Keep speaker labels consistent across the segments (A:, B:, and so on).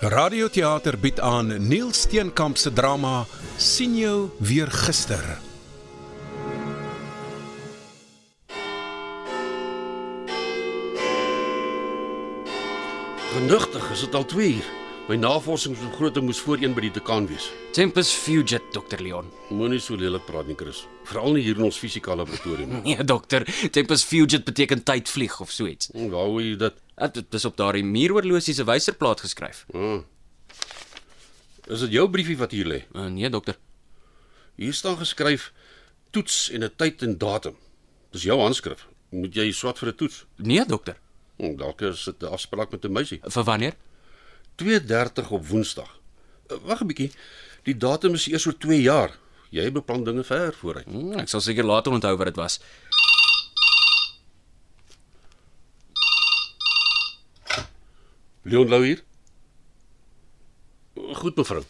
A: Radioteater bied aan Neil Steenkamp se drama Sien jou weer gister.
B: Genugtig, is dit al 2 uur. My navorsingsbegroting moes voorheen by die dekaan wees.
C: Tempus fugit, Dr. Leon.
B: Moenie so lelik praat nie, Chris. Veral nie hier in ons fisika laboratorium nie.
C: Nee, dokter, tempus fugit beteken tyd vlieg of so iets.
B: Waar hoor jy dit?
C: Dit dit is op daardie muuroorlosie se wyserplaat geskryf.
B: Hmm. Is dit jou briefie wat hier lê?
C: Uh, nee, dokter.
B: Hier staan geskryf toets en 'n tyd en datum. Dis jou handskrif. Moet jy swat vir 'n toets?
C: Nee, dokter.
B: Hm, Dalk is dit 'n afspraak met 'n meisie.
C: Vir wanneer?
B: 2:30 op Woensdag. Eh, Wag 'n bietjie. Die datum is eers oor 2 jaar. Jy beplan dinge ver vooruit.
C: Hmm, ek sal seker later onthou wat dit was.
B: Leon Lou hier. Goed mevrou.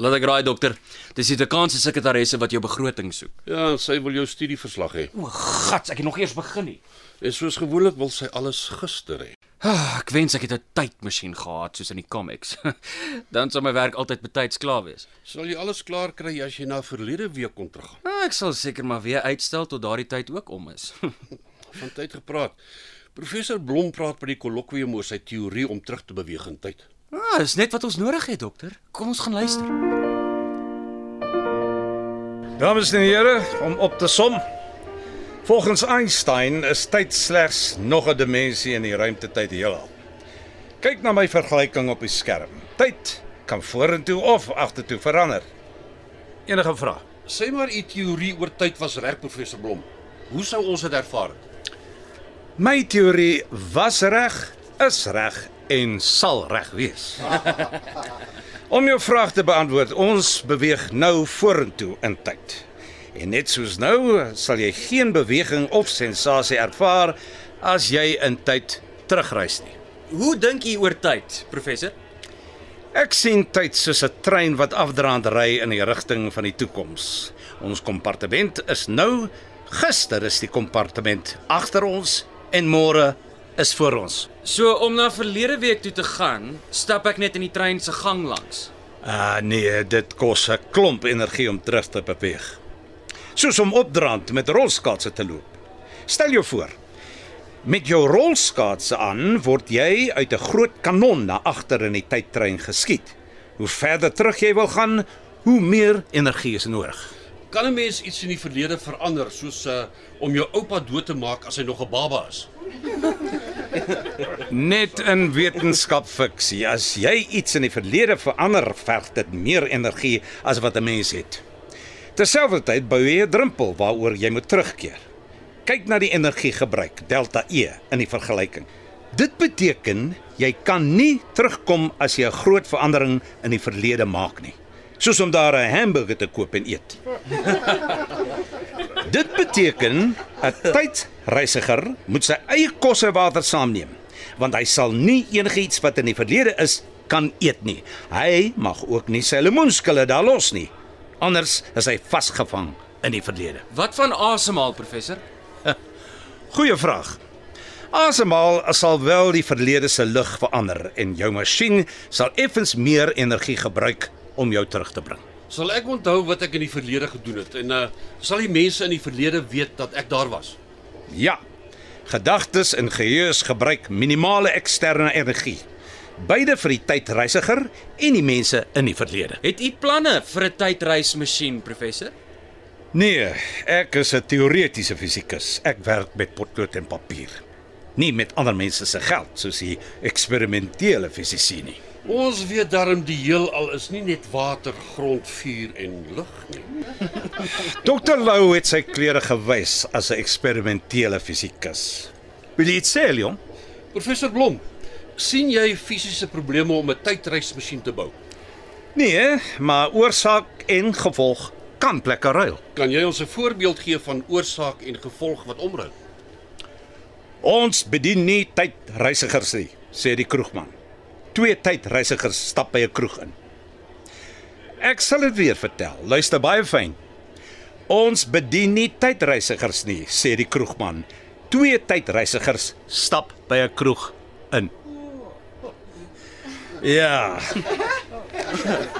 C: Laat ek raai, dokter. Dis die dekaan se sekretaresse wat jou begroting soek.
B: Ja, sy wil jou studieverslag hê.
C: O, gats, ek het nog eers begin nie.
B: En soos gewoonlik wil sy alles gister hê.
C: Ah, ek wens ek het 'n tydmasjien gehad soos in die comics. Dan sou my werk altyd betyds klaar wees.
B: Sal jy alles klaar kry as jy na verlede week kon teruggaan?
C: Ah, ek sal seker maar weer uitstel tot daardie tyd ook om is.
B: Van tyd gepraat. Professor Blom praat by die kolloquium oor sy teorie om terug te beweeg in tyd.
C: ah, dis net wat ons nodig het, dokter. Kom ons gaan luister.
D: Dames en here, om op te som. Volgens Einstein is tyd slegs nog 'n dimensie in die ruimtetyd heelal. Kyk na my vergelyking op die skerm. Tyd kan vorentoe of agtertoe verander. Enige vraag?
B: Sê maar u teorie oor tyd was reg professor Blom. Hoe sou ons dit ervaar het?
D: My teorie was reg, is reg en sal reg wees. Om jou vraag te beantwoord, ons beweeg nou vorentoe in tyd. En net soos nou sal jy geen beweging of sensasie ervaar as jy in tyd terugreis nie.
C: Hoe dink u oor tyd, professor?
D: Ek sien tyd soos 'n trein wat afdraand ry in die rigting van die toekoms. Ons kompartement is nou, gister is die kompartement agter ons en môre is voor ons.
C: So om na verlede week toe te gaan, stap ek net in die trein se gang langs.
D: Ah nee, dit kos 'n klomp energie om terug te beweeg. Soos om opdraand met rolskaatse te loop. Stel jou voor, met jou rolskaatse aan word jy uit 'n groot kanon na agter in die tydtrein geskiet. Hoe verder terug jy wil gaan, hoe meer energie is nodig.
B: Kan 'n mens iets in die verlede verander soos uh, om jou oupa dood te maak as hy nog 'n baba is?
D: Net in wetenskap fiksie, as jy iets in die verlede verander, verg dit meer energie as wat 'n mens het. Terselfdertyd bou jy 'n drempel waaroor jy moet terugkeer. Kyk na die energiegebruik, delta E in die vergelyking. Dit beteken jy kan nie terugkom as jy 'n groot verandering in die verlede maak nie, soos om daar 'n hamburger te koop en eet. Dit beteken 'n tydreisiger moet sy eie kos en water saamneem, want hy sal nie enigiets wat in die verlede is kan eet nie. Hy mag ook nie sy lemoenskille daar los nie, anders is hy vasgevang in die verlede.
C: Wat van asemhaal, professor?
D: Goeie vraag. Asemhaal sal wel die verlede se lug verander en jou masjien sal effens meer energie gebruik om jou terug te bring.
B: Sal ek onthou wat ek in die verlede gedoen het en uh, sal die mense in die verlede weet dat ek daar was?
D: Ja. Gedagtes en geheues gebruik minimale eksterne energie, beide vir die tydreisiger en die mense in die verlede.
C: Het u planne vir 'n tydreismasjien, professor?
D: Nee, ek is 'n teoretiese fisikus. Ek werk met potlood en papier, nie met ander mense se geld soos die eksperimentele fisici nie.
B: Ons weet darm die heelal is nie net water, grond, vuur en lug nie.
D: Dr. Lou het sy klere gewys as 'n eksperimentele fisikus. Wil jy dit sê, Leon?
B: Professor Blom, sien jy fisiese probleme om 'n tydreismasjien te bou?
D: Nee, maar oorsaak en gevolg kan plekke ruil.
B: Kan jy ons 'n voorbeeld gee van oorsaak en gevolg wat omruil?
D: Ons bedien nie tydreisigers nie, sê die kroegman. Twee tydreisigers stap by 'n kroeg in. Ek sal dit weer vertel. Luister baie fyn. Ons bedien nie tydreisigers nie, sê die kroegman. Twee tydreisigers stap by 'n kroeg in. Ja.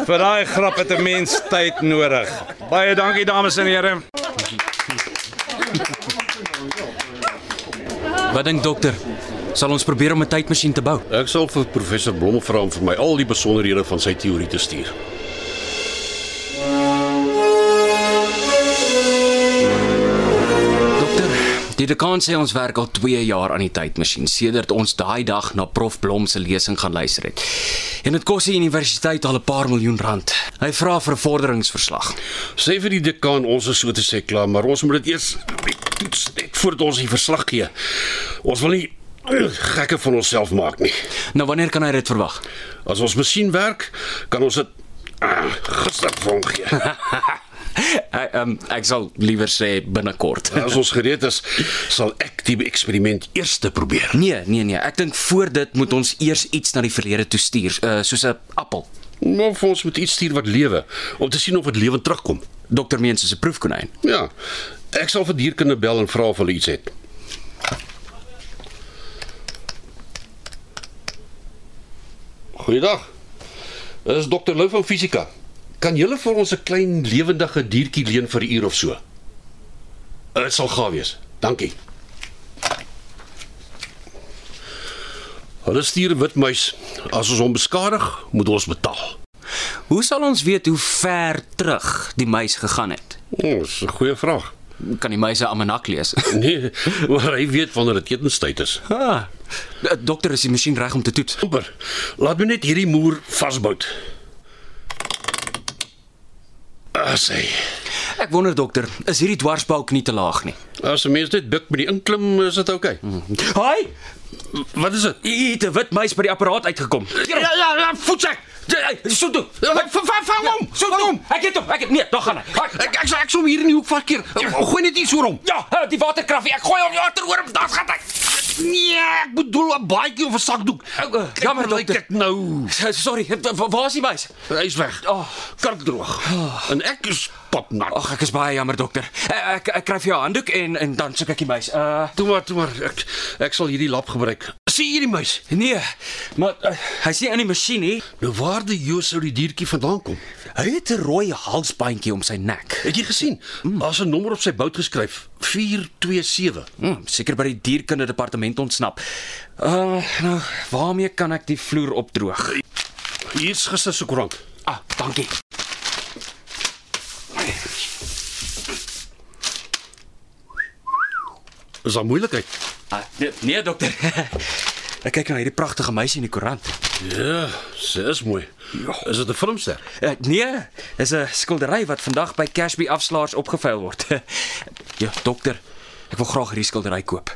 D: Vir daai grap het 'n mens tyd nodig. Baie dankie dames en here.
C: Wat dink dokter? Sal ons probeer om 'n tydmasjien te bou?
B: Ek sal vir professor Blom vra om vir my al die besonderhede van sy teorie te stuur.
C: Dokter, die dekaan sê ons werk al 2 jaar aan die tydmasjien sedert ons daai dag na Prof Blom se lesing gaan luister het. En dit kos die universiteit al 'n paar miljoen rand. Hy vra vir 'n vorderingsverslag.
B: Sê vir die dekaan ons is so te sê klaar, maar ons moet dit eers toets net voordat ons die verslag gee. Ons wil nie ugh, gekke van onsself maak nie.
C: Nou wanneer kan hy dit verwag?
B: As ons masjien werk, kan ons dit ah, gister vir hom gee.
C: Ek um, ek sal liewer sê binnekort.
B: Nou, As ons gereed is, sal ek die eksperiment eers te probeer.
C: Nee, nee, nee. Ek dink voor dit moet ons eers iets na die verlede toe stuur, uh, soos 'n appel.
B: Maar vir Nou, ons moet iets stuur wat lewe, om te sien of dit lewend terugkom.
C: Dokter Meens is 'n proefkonyn.
B: Ja. Ek sal vir dierkunde bel en vra of hulle iets het. Goeiedag. Dis dokter Lou van fisika. Kan julle vir ons 'n klein lewendige diertjie leen vir 'n uur of so? Dit sal gaaf wees. Dankie. Hulle stuur 'n wit muis. As ons hom beskadig, moet ons betaal.
C: Hoe sal ons weet hoe ver terug die muis gegaan het?
B: O, Dis 'n goeie vraag.
C: Kan die muis 'n almanak lees?
B: Nee, maar hy weet wanneer dit etenstyd is.
C: ah. d- Dokter, is die masjien reg om te toets?
B: Amper. Laat my net hierdie muur vasbout. As hy.
C: Ek wonder dokter, is hierdie dwarsbalk nie te laag nie?
B: As 'n mens net dik met die inklim, is dit oukei. Okay.
C: Hi,
B: Wat is dit?
C: hier het 'n wit muis by die apparaat uitgekom.
B: Ja ja ja, voetsek.
C: So toe.
B: Vang hom.
C: So toe. Ek het hom. Ek het nee, daar gaan hy. Ai,
B: Ek ek sal ek som hier in die hoek vaskeer. Gooi net iets oor hom.
C: Ja, die waterkrafie. Ek gooi hom water oor hom. Daar gaan hy.
B: Nee, ek bedoel 'n baadjie of 'n sakdoek.
C: Ou, eh, jammer,
B: Kyk, lyk
C: dokter.
B: Dit nou.
C: S- Sorry, wa- wa- waar is die muis?
B: Hy is weg.
C: Ah.
B: Karkdroog. En ek is papnat.
C: Ag, ek is baie jammer dokter. Eh, Ek ek kry vir jou 'n handdoek en en dan soek ek die muis. Uh
B: Toe maar, toe maar. Ek ek sal hierdie lap gebruik. Sien hierdie muis.
C: nee, maar uh, hy sien in die masjien hier.
B: Nou waar die Joos sou die diertjie vandaan kom?
C: Hy het 'n rooi halsbandjie om sy nek. Mm.
B: Het jy gesien? Daar's 'n nommer op sy bout geskryf, 427.
C: Hm, seker by die dierkunde departement ontsnap. Uh nou, waarmee kan ek die vloer opdroog?
B: Hier's gister se koerant.
C: Ah, dankie.
B: Is daar moeilikheid?
C: Ah, nee, nee dokter. ek kyk na hierdie pragtige meisie in die koerant.
B: Ja, sy is mooi. Is dit 'n filmster?
C: Uh, Ja. nee, dis 'n skildery wat vandag by Cashby afslaers opgevuil word. ja, dokter, ek wil graag hierdie skildery koop.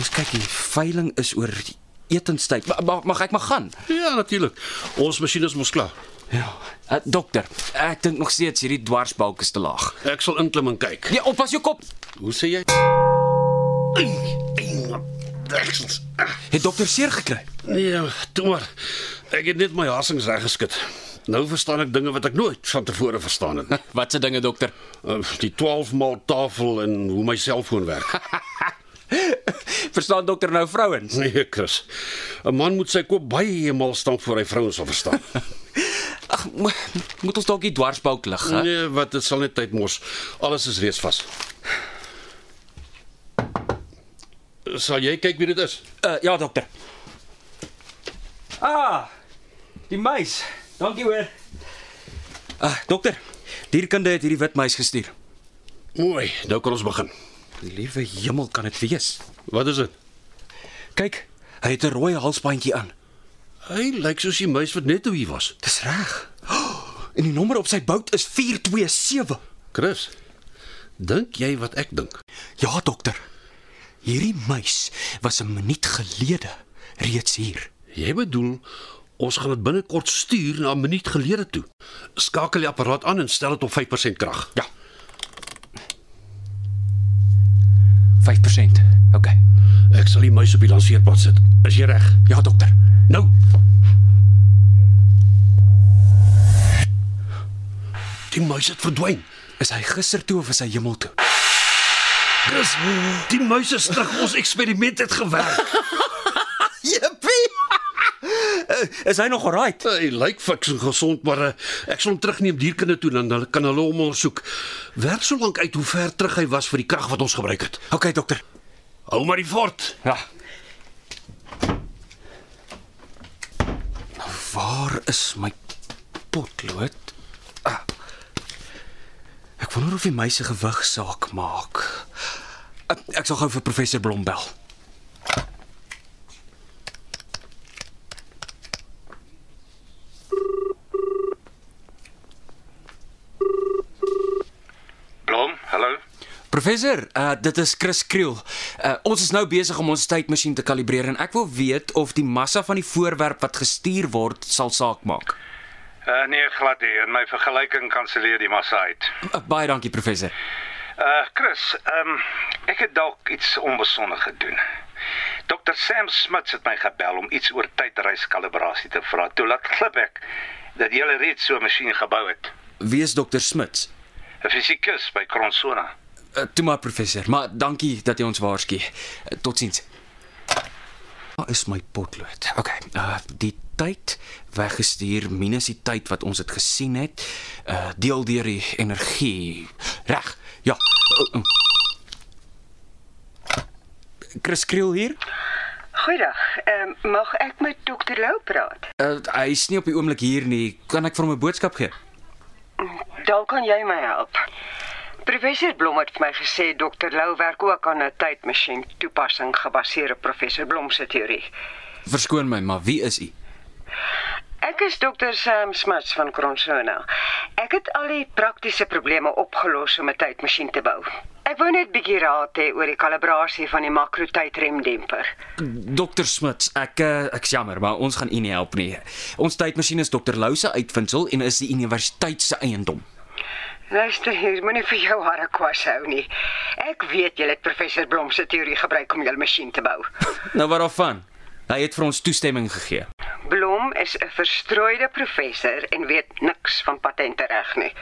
C: Ons kyk, die veiling is oor die etenstyd. Ma- Mag, mag ek maar gaan?
B: Ja, natuurlik. Ons masjien is mos klaar.
C: Ja. Uh, dokter, ek dink nog steeds hierdie dwarsbalk is te laag.
B: Ek sal inklim en kyk.
C: Nee, oppas jou kop.
B: Hoe sê jy? Ai, ai, ek sal- ah,
C: Het dokter seer gekry?
B: Nee, toe maar. Ek het net my harsings reg geskit. Nou verstaan ek dinge wat ek nooit van tevore verstaan het. nie.
C: Wat se dinge, dokter?
B: Uh, Die 12 maal tafel en hoe my selfoon werk.
C: Verstaan dokter nou vrouens?
B: Nee, Chris. 'n Man moet sy kop baie maal stamp voor hy vrouens sal verstaan.
C: Ag, mo- moet ons dalk die dwarsbalk lig? hè?
B: Nee, wat dit sal net tyd mors. Alles is reeds vas. Sal jy kyk wie dit is?
C: Uh, ja, dokter. Ah, die muis. Dankie hoor. Ah, dokter. Dierkunde het hierdie wit muis gestuur.
B: Mooi, nou kan ons begin.
C: Liewe hemel, kan dit wees?
B: Wat is dit?
C: Kyk, hy het 'n rooi halsbandjie aan.
B: Hy lyk soos die muis wat net toe hier was.
C: Dis reg. Oh, en die nommer op sy bout is 427.
B: Chris, dink jy wat ek dink?
C: Ja, dokter. Hierdie muis was 'n minuut gelede reeds hier.
B: Jy bedoel ons gaan dit binnekort stuur na 'n minuut gelede toe. Skakel die apparaat aan en stel dit op 5% krag.
C: Ja. 5%. OK.
B: Ek sal die muis op die lanceerpad sit. Is jy reg?
C: Ja, dokter.
B: Nou. Die muis het verdwyn.
C: Is hy gister toe of is hy hemel toe?
B: Chris, die muis is terug. Ons eksperiment het gewerk.
C: Jippie. Eh, is hy nog alright?
B: Hy lyk fiks en gesond, maar eh, ek sal hom terugneem dierkinde toe dan hulle kan hulle hom ondersoek. Werk so lank uit hoe ver terug hy was vir die krag wat ons gebruik het.
C: OK, dokter.
B: Hou maar die fort.
C: Ja. Nou, waar is my potlood? Ah. Ek wonder of die meisie gewig saak maak. Ek, ek sal gou vir professor Blom bel.
E: Blom, hallo.
C: Professor, uh, dit is Chris Kriel. Uh, ons is nou besig om ons tydmasjien te kalibreer en ek wil weet of die massa van die voorwerp wat gestuur word sal saak maak.
E: Uh, nee, glad nie. In my vergelyking kanselleer die massa uit.
C: Uh, baie dankie professor.
E: Uh Chris, ehm um, ek het dalk iets onbesonnig gedoen. Dr Sam Smits het my gebel om iets oor tydreiskalibrasie te vra. Toe laat glip ek dat jy reeds so 'n masjien gebou het.
C: Wie is dokter Smits?
E: 'n Fisikus by Kronsona.
C: Uh, toe maar professor, maar dankie dat jy ons waarsku. Uh, Totsiens. Waar is my potlood? OK, uh, die tyd weggestuur minus die tyd wat ons dit gesien het, uh, deel deur die energie. Reg. Ja. Uh, uh. Chris Kriel hier.
F: Goeiedag. Ehm mag ek met dokter Lou praat?
C: Uh, hy is nie op die oomblik hier nie. Kan ek vir hom 'n boodskap gee?
F: Dalk kan jy my help. Professor Blom het vir my gesê dokter Lou werk ook aan 'n tydmasjien toepassing gebaseer op professor Blom se teorie.
C: Verskoon my, maar wie is u?
F: Ek is dokter Sam Smuts van Kronsona. Ek het al die praktiese probleme opgelos om 'n tydmasjien te bou. Ek wou net bietjie raad hê oor die kalibrasie van die makrotydremdemper.
C: Dokter Smits, ek uh, ek is jammer, maar ons gaan u nie help nie. Ons tydmasjien is dokter Lou se uitvindsel en is die universiteit se eiendom.
F: Luister hier, moenie vir jou hare kwas hou nie. Ek weet jy het professor Blom se teorie gebruik om jou masjien te bou.
C: Nou wat daarvan? Hy het vir ons toestemming gegee.
F: Blom is 'n verstrooide professor en weet niks van patente reg nie.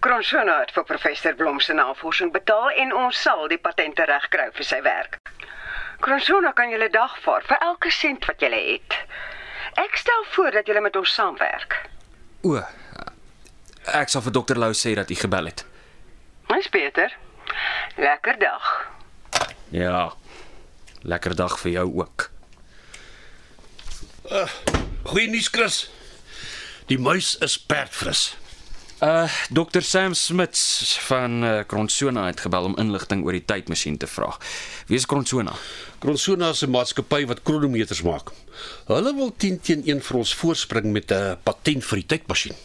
F: Kronsona het vir professor Blom se navorsing betaal en ons sal die patente reg kry vir sy werk. Kronsona kan julle dagvaar vir elke sent wat julle het. Ek stel voor dat julle met ons saamwerk.
C: O. Ek sal vir dokter Lou sê dat u gebel het.
F: Dis beter. Lekker dag.
C: Ja. Lekker dag vir jou ook.
B: Eh, Goeie nuus, Chris. Die muis is perdfris.
C: Uh dokter Sam Smits van uh, Kronsona het gebel om inligting oor die tydmasjien te vra. Wie is Kronsona?
B: Kronsona se maatskappy wat kronometers maak. Hulle wil 10 teen 1 vir ons voorspring met 'n patent vir die tydmasjien.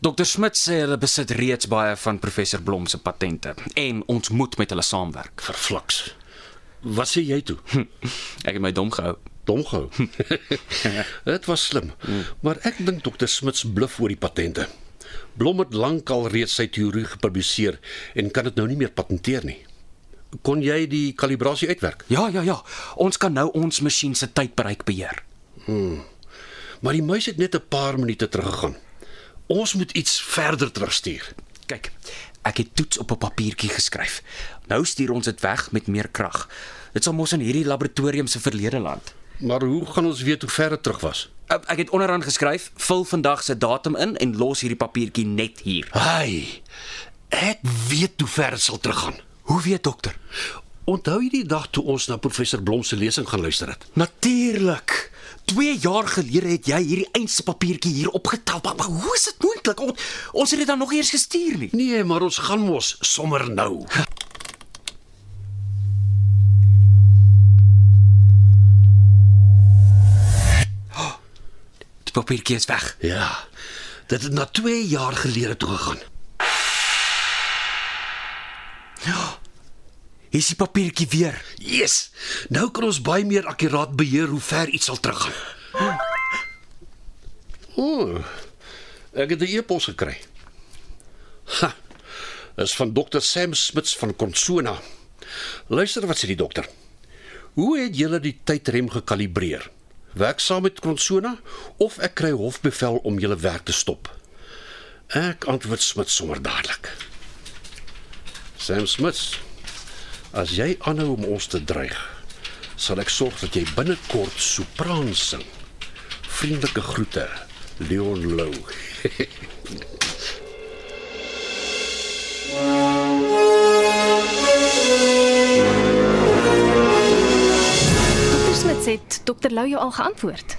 C: Dokter Smits sê hulle besit reeds baie van professor Blom se patente en ons moet met hulle saamwerk. Hm.
B: Verfliks. Wat sê jy toe?
C: Ek het my dom gehou.
B: Dom gehou. Dit was slim. Maar ek dink dokter Smits bluf oor die patente. Blom het lankal reeds sy teorie gepubliseer en kan dit nou nie meer patenteer nie. Kon jy die kalibrasie uitwerk?
C: Ja, ja, ja. Ons kan nou ons masjien se tydbereik beheer.
B: Hmm. Maar die muis het net 'n paar minute terug gegaan. Ons moet iets verder terugstuur.
C: Kyk, ek het toets op 'n papiertjie geskryf. Nou stuur ons dit weg met meer krag. Dit sal mos in hierdie laboratorium se verlede land.
B: Maar hoe gaan ons weet hoe ver dit terug was?
C: Ek ek het onderaan geskryf, vul vandag se datum in en los hierdie papiertjie net hier.
B: Ai. Ek weet hoe ver dit sal teruggaan.
C: Hoe weet dokter?
B: Onthou jy die dag toe ons na professor Blom se lesing gaan luister het?
C: Natuurlik. 2 jaar gelede het jy hierdie eindse papiertjie hier opgetel. Maar, maar hoe is dit moontlik? On, ons het dit dan nog eers gestuur nie.
B: Nee, maar ons gaan mos sommer nou.
C: Oh, Die papiertjie is weg.
B: Ja. Dit het na 2 jaar gelede toe gegaan.
C: Hier is die papiertjie weer.
B: Yes. Nou kan ons baie meer akuraat beheer hoe ver iets sal teruggaan. O. Ek het 'n e-pos gekry. Ha. Is van dokter Sam Smits van Consona. Luister wat sê die dokter. Hoe het julle die tydrem gekalibreer? Werk saam met Consona of ek kry hofbevel om julle werk te stop. Ek antwoord Smits sommer dadelik. Sam Smits, as jy aanhou om ons te dreig, sal ek sorg dat jy binnekort sopraan sing. Vriendelike groete, Leon Lou.
G: Dokter Smits het dokter Lou jou al geantwoord.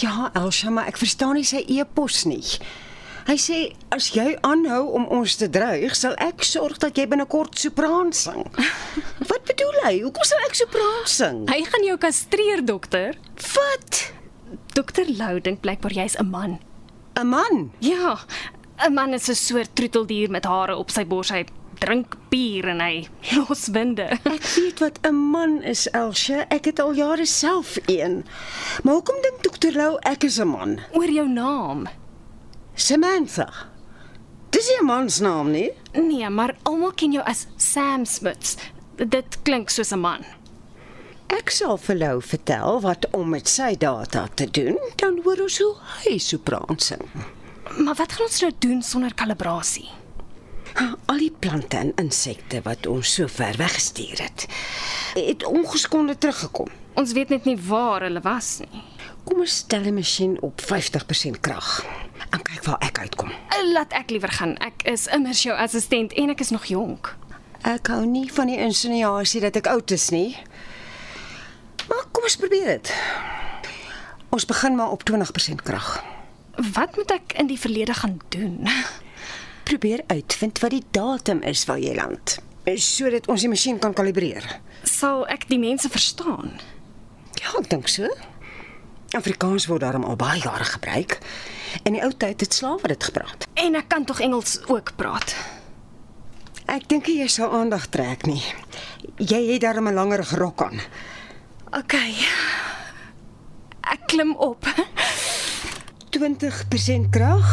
F: Ja, Elsa, maar ek verstaan nie sy e-pos nie. Hy sê as jy aanhou om ons te dreig, sal ek sorg dat jy binnekort sopraan sing. Wat bedoel hy? Hoekom sal ek sopraan sing?
G: Hy gaan jou kastreer, dokter.
F: Wat?
G: Dokter Lou dink blykbaar jy's 'n man.
F: 'n Man.
G: Ja, 'n man is 'n soort troeteldier met hare op sy bors. Hy drink bier en hy los winde.
F: Ek weet wat 'n man is, Elsje. Ek het al jare self een. Maar hoekom dink dokter Lou ek is 'n man?
G: Oor jou naam.
F: Samantha. Dis nie 'n man se naam nie.
G: Nee, maar almal ken jou as Sam Smits. Dit klink soos 'n man.
F: Ek sal vir Lou vertel wat om met sy data te doen, dan hoor ons hoe hy sopraan sing.
G: Maar wat gaan ons nou doen sonder kalibrasie?
F: Al die plante en insekte wat ons so ver weggestuur het, het ongeskonde teruggekom.
G: Ons weet net nie waar hulle was nie.
F: Kom ons stel die masjien op 50% krag en kyk waar ek uitkom.
G: Eh, Laat ek liewer gaan. Ek is immers jou assistent en ek is nog jonk.
F: Ek hou nie van die insinuasie dat ek oud is nie. Maar kom ons probeer dit. Ons begin maar op 20% krag.
G: Wat moet ek in die verlede gaan doen?
F: Probeer uitvind wat die datum is waar jy land, sodat ons die masjien kan kalibreer.
G: Sal ek die mense verstaan?
F: Ja, ek dink so. Afrikaans word daarom al baie jare gebruik. In die ou tyd het slawe dit gepraat.
G: En ek kan tog Engels ook praat.
F: Ek dink nie jy sal aandag trek nie. Jy het darem 'n langer rok aan.
G: OK. Ek klim op.
F: 20% krag.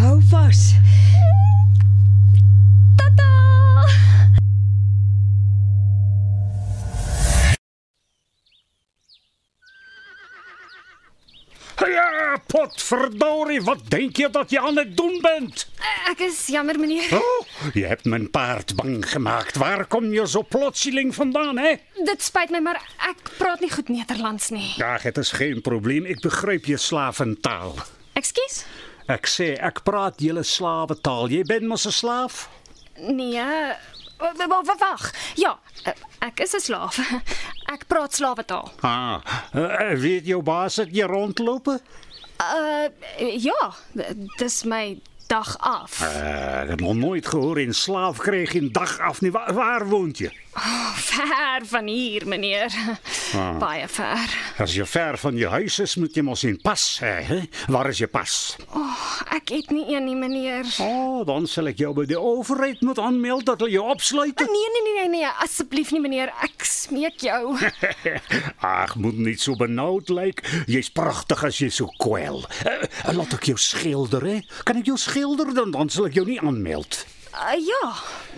F: Hou vas.
G: Tada!
H: Ja, potverdorie, wat dink jy dat jy aan het doen bent?
G: Ek is jammer meneer.
H: Oh, jy hebt mijn paard bang gemaakt. Waar kom je zo plotseling vandaan, hè?
G: Dit spyt my, maar ek praat nie goed Nederlands nie.
H: Ja, het is geen probleem. Ik begrijp je slaventaal.
G: Ekskuus?
H: Ik zei, ik praat jullie slaventaal. Jij bent maar een slaaf.
G: Nee. Wag, wag. Ja, eh, ek is 'n slaaf. Ek praat slawetaal.
H: Ah, eh, eh, weet jouw baas dat je rondlopen?
G: Uh ja, dis my dag af.
H: Eh, ik heb nog nooit gehoord in slaaf kreeg in dag af. Nie. Waar, waar woont je?
G: Ver van hier, meneer. Baie ver.
H: Als je ver van je huis is, moet je maar in pas. hè, Hè? Waar is je pas?
G: Oh, Ek het nie een nie, meneer.
H: Oh, dan zal ik jou bij de overheid moeten aanmelden dat ze je opsluiten.
G: Nee, nee, nee, nee, nee, asseblief nie, meneer. Ek smeek jou.
H: Ja. Ach, moet niet zo benauwd lijken. Je is prachtig als je zo kwel. Eh, eh, laat ik jou schilderen. hè? Kan ik jou schilderen? Dan, dan zal ik jou niet aanmeld.
G: Uh, ja,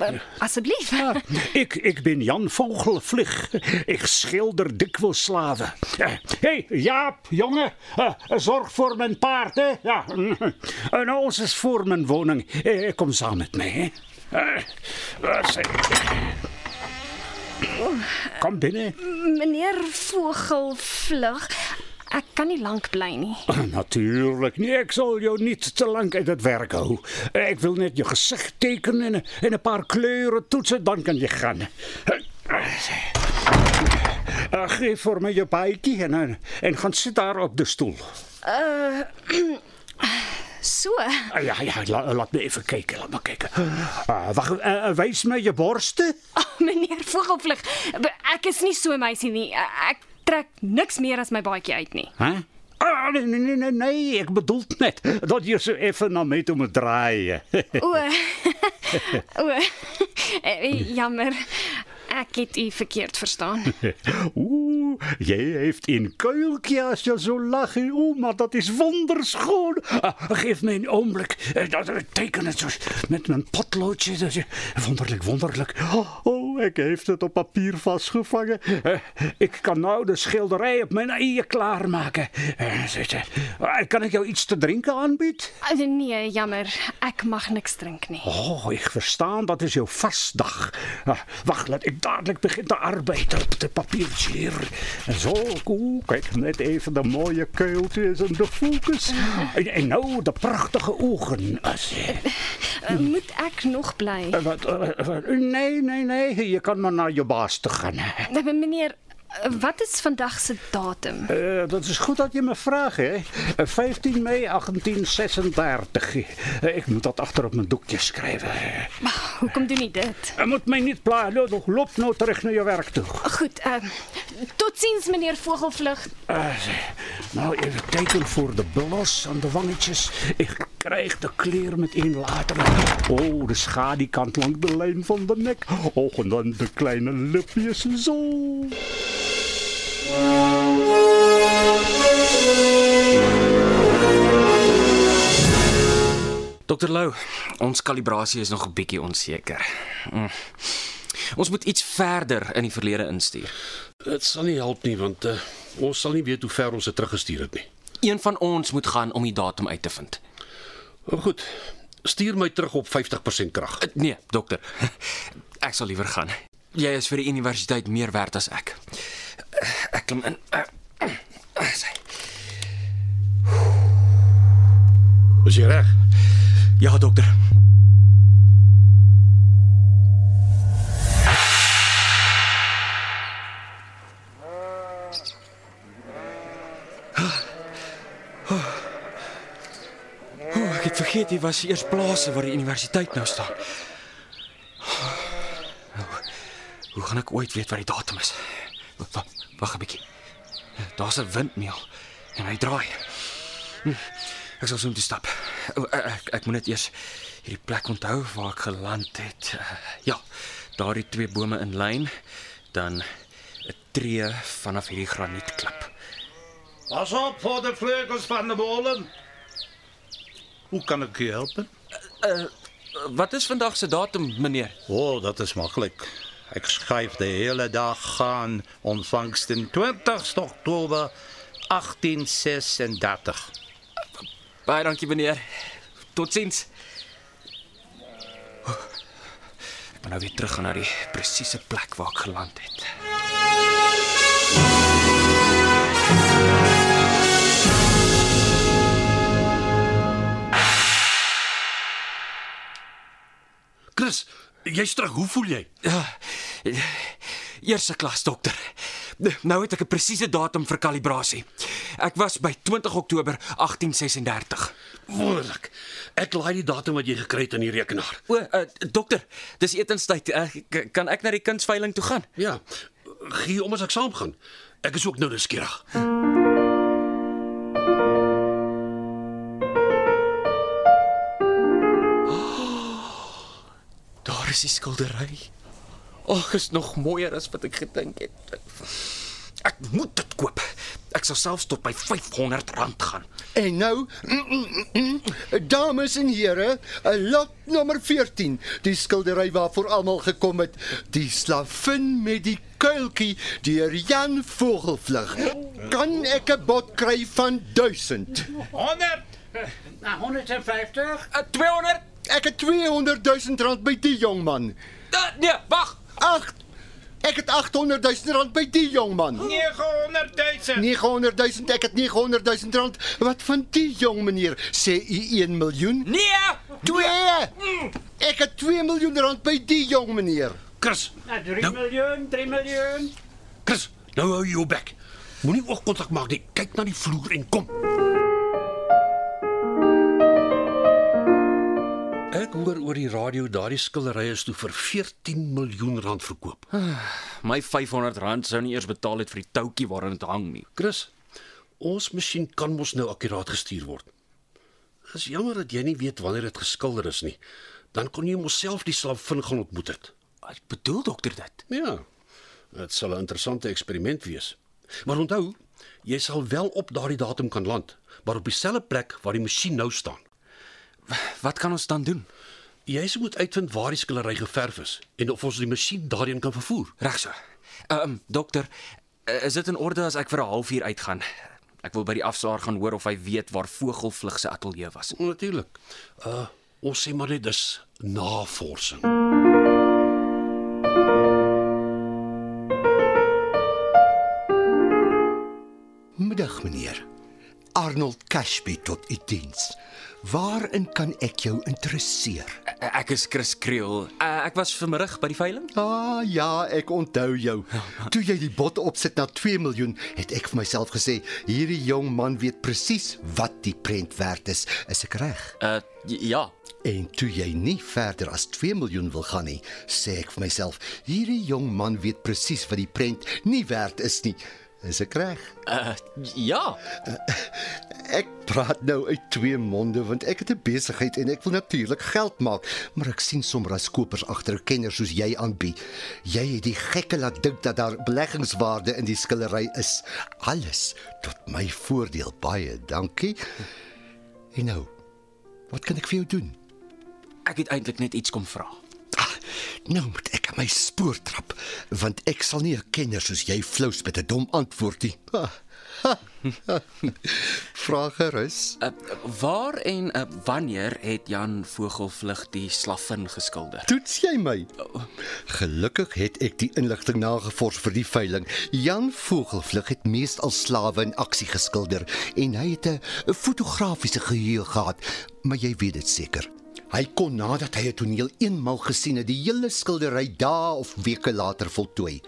G: eh, asseblief.
H: Ah, ik, ik ben Jan Vogelvlug. Ik schilder dikwijls slaven. Hé, hey, Jaap, jongen. eh, zorg voor mijn paard, hè. Ja. En ons is voor mijn woning. Eh, kom samen met mij, hè. Eh, waar zijn- Kom binnen.
G: Meneer Vogelvlug, ek kan nie lank bly nie.
H: Natuurlijk. Nee, ik zal jou niet te lang uit het werk houden. Eh, Ik wil net je gezicht tekenen en, een- en een paar kleuren toetsen, dan kan je gaan. Eh, eh, geef voor mij je paaitje en, en, en gaan zit daar op de stoel.
G: Uh, So,
H: Ah, ja, ja, la- laat me even kijken, laat me kijken. Ah, wacht, eh, eh, wijs mij je borsten.
G: oh, meneer Vogelvlug, be- ek is nie so 'n meisie nie. Eh, Ek trek niks meer as my baadjie uit nie.
H: Huh? Ah, nee, nee, nee, nee, nee, ik bedoel net dat je zo even naar mij toe moet draaien.
G: O. O. eh, Jammer. Ek het u verkeerd verstaan.
H: Oeh, Oeh, jij heeft in kuiltje als je zo lacht. Oeh, maar dat is wonderschoon. Ah, geef mij een oomlik. Eh, Dat eh, teken het zo met mijn potloodje. Dat is, eh, Wonderlijk, wonderlijk. Oh, ik heeft het op papier vastgevangen. Eh, Ik kan nou de schilderij op mijn eie klaarmaken. Eh, zit, eh, eh, Kan ik jou iets te drinken aanbieden?
I: Ah,
G: Eh,
I: Nee, jammer. Ek mag niks drink nie.
H: Oh, ik verstaan, dat is jouw vastdag. Ah, wacht, laat ik dadelijk begin te arbeiden op de papiertje hier. En zo, koe, kijk net even de mooie keeltjes en de focus. En, en nou, de prachtige ogen. Ah, zie.
I: Eh, Moet ek nog bly?
H: Eh, wat, eh, wat, nee, nee, nee, je kan maar naar je baas te gaan.
I: Eh, Meneer, eh, wat is vandag se datum?
H: Eh, dat is goed dat je me vraagt, hè. Eh, 15 mei 1836. Eh, ik moet dat achter op mijn doekje schrijven.
I: Hoekom doen u dit?
H: Je moet mij niet plagen. Loop, loop nou terug naar je werk toe.
I: Goed, ehm totsiens meneer Vogelvlug.
H: Ah, nou, even kijken voor de blos aan de wangetjes. Ik krijg de kleur meteen later. Oh, de schaduwkant langs de lijn van de nek. Oh, en dan de kleine lipjes zo.
C: Dokter Lou, ons kalibrasie is nog 'n bietjie onseker. Mm. Ons moet iets verder in die verlede instuur.
B: Dit sal nie help nie want uh, ons sal nie weet hoe ver ons dit teruggestuur het nie.
C: Een van ons moet gaan om die datum uit te vind.
B: Maar goed, stuur my terug op 50% krag.
C: Eh, Nee, dokter. Ek sal liewer gaan. Jy is vir die universiteit meer werd as ek. Eh, Ek klim in. Eh, eh, Sy.
B: Is jy reg?
C: Ja, dokter. Oh, ek het vergeet hier was eers plase waar die universiteit nou staan. Nou, hoe gaan ek ooit weet wat die datum is? Wa- wa- Wag 'n bietjie. Daar's 'n windmeel en hy draai. Ek sal so intoe stap. O, e- Ek ek moet net eers hierdie plek onthou waar ek geland het. Eh, Ja, daardie twee bome in lyn, dan 'n tree vanaf hierdie granietklip.
D: Pas op voor de vleugels van de molen. Hoe kan ik u helpen?
C: Eh, Wat is vandag se datum, meneer?
D: Oh, dat is makkelijk. Ik schrijf de hele dag aan ontvangsten 20 oktober 1836.
C: Baie dankie, meneer. Totsiens. Oh, Ek moet nou weer terug gaan na die presiese plek waar ek geland het.
B: Chris, jy's terug. Hoe voel jy?
C: Ja. Eerste klas dokter. Nou het ek 'n presiese datum vir kalibrasie. Ek was by 20 Oktober 1836.
B: Wonderlik. Ek laai die datum wat jy gekry het in die rekenaar.
C: O, uh, dokter, dis etenstyd. Uh, k- kan ek na die kunsveiling toe gaan?
B: Ja. Gee om as ek saam gaan. Ek is ook nou nuuskierig.
C: Daar is die skildery. Ag, is nog mooier as wat ek gedink het. Ek moet dit koop. Ek sal selfs tot by R500 gaan.
J: En nou, mm, mm, mm, mm, dames en eh, here, lot nommer 14, die skildery waarvoor almal gekom het, die slavin met die kuiltjie deur Jan Vogelvlug. Kan ek 'n bod kry van 1000?
D: 100! Na 150?
J: Eh,
C: Uh, 200?
J: Ek het 200 000 rand by die jong man.
B: Eh,
C: Uh, nee, wag.
J: 8 Ek het 800 000 rand by die jong man.
D: 900 000!
J: 900 000, ek het 900 000 rand. Wat van die jong meneer? Sê u 1 miljoen?
C: Nee.
B: Mm.
J: Twee! Ek het 2 miljoen rand by die jong meneer.
B: Chris, Nou.
D: 3 Nou, miljoen, 3 miljoen.
B: Chris, nou hou jy jou bek. Moenie oogkontak maak nie. Kyk na die vloer en kom. Ek hoor oor die radio daardie skilderye is toe vir 14 miljoen rand verkoop.
C: My R500 sou nie eers betaal het vir die toutjie waarin dit hang nie.
B: Chris, ons masjien kan mos nou akkuraat gestuur word. Dis jammer dat jy nie weet wanneer dit geskilder is nie. Dan kon jy mos self die slavin gaan ontmoet het.
C: Wat bedoel dokter dit?
B: Ja. Dit sal 'n interessante eksperiment wees. Maar onthou, jy sal wel op daardie datum kan land, maar op dieselfde plek waar die masjien nou staan.
C: Wat kan ons dan doen?
B: Jy sal moet uitvind waar die skillery geverf is en of ons die masjien daarheen kan vervoer.
C: Reg so. Ehm dokter, eh, is dit in orde as ek vir 'n halfuur uitgaan? Ek wil by die afsaar gaan hoor of hy weet waar Vogelvlug se ateljee was.
B: Natuurlik. Uh ons sê maar net dis navorsing.
K: Middag meneer. Arnold Cashby tot u diens. Waarin kan ek jou interesseer?
C: Eh, Ek is Chris Kriel. Eh, Ek was vanmiddag by die veiling. Ja.
K: Ah ja, ek onthou jou. Toe jy die bot opsit na 2 miljoen, het ek vir myself gesê, hierdie jong man weet presies wat die prent werd is. Is ek reg?
C: Uh ja.
K: En toe jy nie verder as 2 miljoen wil gaan nie, sê ek vir myself, hierdie jong man weet presies wat die prent nie werd is nie. Is ek reg? Eh,
C: Uh ja.
K: Ek praat nou uit twee monde want ek het 'n besigheid en ek wil natuurlik geld maak, maar ek sien sommer as kopers agter kenners soos jy aanbied. Jy het die gekke laat dink dat daar beleggingswaarde in die skillery is. Alles tot my voordeel. Baie dankie. En nou, wat kan ek vir jou doen?
C: Ek het eintlik net iets kom vra.
K: Ah, nou moet ek aan my spoor trap, want ek sal nie 'n kenner soos jy flous met 'n dom antwoord nie. Vra gerus.
C: Uh waar en uh, wanneer het Jan Vogelvlug die slavin geskilder?
K: Toets jy my? Gelukkig het ek die inligting nagevors vir die veiling. Jan Vogelvlug het meestal slawe in aksie geskilder en hy het 'n fotografiese geheue gehad, maar jy weet dit seker. Hy kon nadat hy 'n toneel eenmal gesien het, die hele skildery dae of weke later voltooi.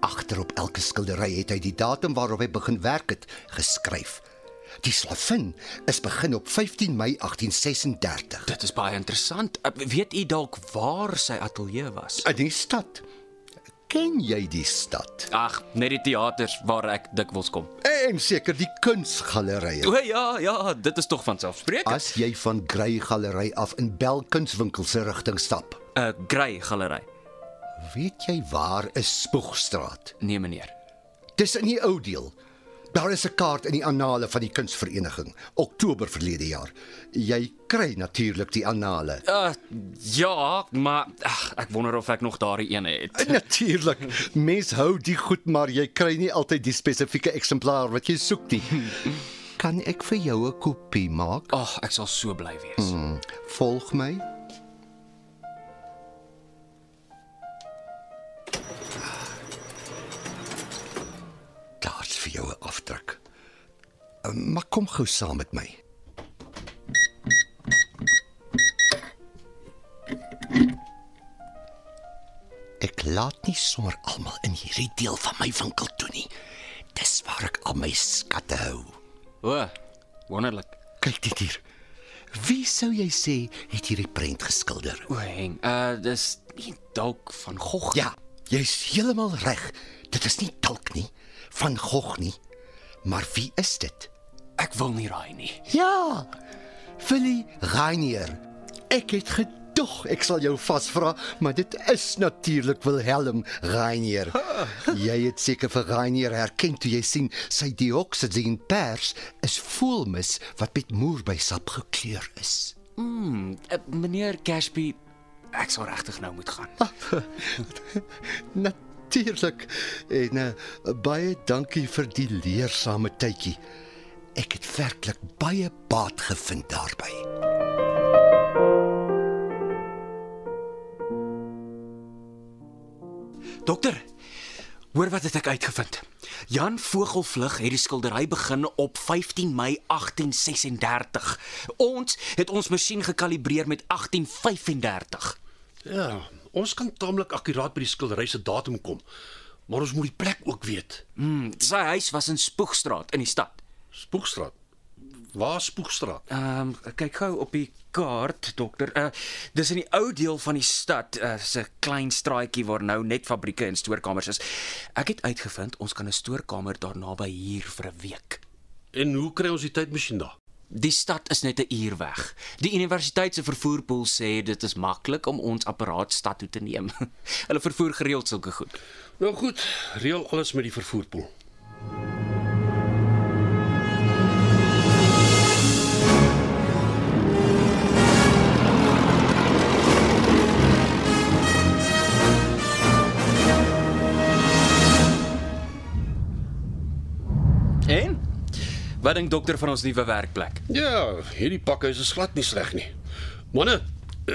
K: Agter op elke skildery het hy die datum waarop hy begin werk het geskryf. Die slavin is begin op 15 Mei 1836.
C: Dit is baie interessant. Uh, weet u dalk waar sy ateljee was?
K: In die stad. Ken jy die stad?
C: Ag, net die teaters waar ek dikwels kom.
K: En seker die kunsgalerye.
C: O ja, ja, dit is tog van selfspreek.
K: As jy van Grey Galery af in Bell Kunswinkel se rigting stap,
C: 'n uh, Grey galery.
K: weet jy waar is Spoegstraat?
C: Nee meneer.
K: Dis in die ou deel. Daar is 'n kaart in die annale van die kunstvereniging, Oktober verlede jaar. Jy kry natuurlik die annale.
C: Uh ja, maar ag, ek wonder of ek nog daardie een het.
K: Natuurlik. Mens hou die goed, maar jy kry nie altyd die spesifieke eksemplaar wat jy soek nie. Kan ek vir jou 'n kopie maak?
C: Ag, oh, ek sal so bly wees. Mm.
K: Volg my. Daar's vir jou 'n afdruk. Uh, Maar kom gou saam met my. Ek laat nie sommer almal in hierdie deel van my winkel toe nie. Dis waar ek al my skatte hou.
C: O, wonderlik.
K: Kyk dit hier. Wie sou jy sê het hierdie prent geskilder?
C: O, heng. Uh dis nie dalk van Gogh.
K: Ja, jy's heeltemal reg. Dit is nie dalk nie, van Gogh nie. Maar wie is dit?
C: Ek wil nie raai nie.
K: Ja, Willy Reinier. Ek het gedog ek sal jou vasvra, maar dit is natuurlik Wilhelm Reinier. Jy het seker vir Reinier herken toe jy sien sy dioxidien pers is voelmis wat met moerbeisap gekleur is.
C: Mm, uh, meneer Cashby, ek sal regtig nou moet gaan.
K: Natuurlik. En uh, baie dankie vir die leersame tydjie. Ek het werklik baie baat gevind daarbey.
C: Dokter, hoor wat het ek uitgevind? Jan Vogelvlug het die skildery begin op 15 Mei 1836. Ons het ons masjien gekalibreer met 1835.
B: Ja, ons kan taamlik akuraat by die skildery se datum kom, maar ons moet die plek ook weet.
C: Mm, sy huis was in Spoegstraat in die stad.
B: Spoegstraat. Waar Spoegstraat?
C: Ehm um, kyk gou op die kaart, dokter. Uh dis in die ou deel van die stad, uh se klein straatjie waar nou net fabrieke en stoorkamers is. Ek het uitgevind ons kan 'n stoorkamer daarna by huur vir 'n week.
B: En hoe kry ons die tydmasjien daar?
C: Die stad is net 'n uur weg. Die universiteit se vervoerpool sê dit is maklik om ons apparaat stad toe te neem. Hulle vervoer gereeld sulke goed.
B: Nou goed, reël alles met die vervoerpool.
C: Wat dink dokter van ons nuwe werkplek?
B: Ja, hierdie pakhuis is glad nie sleg nie. Manne,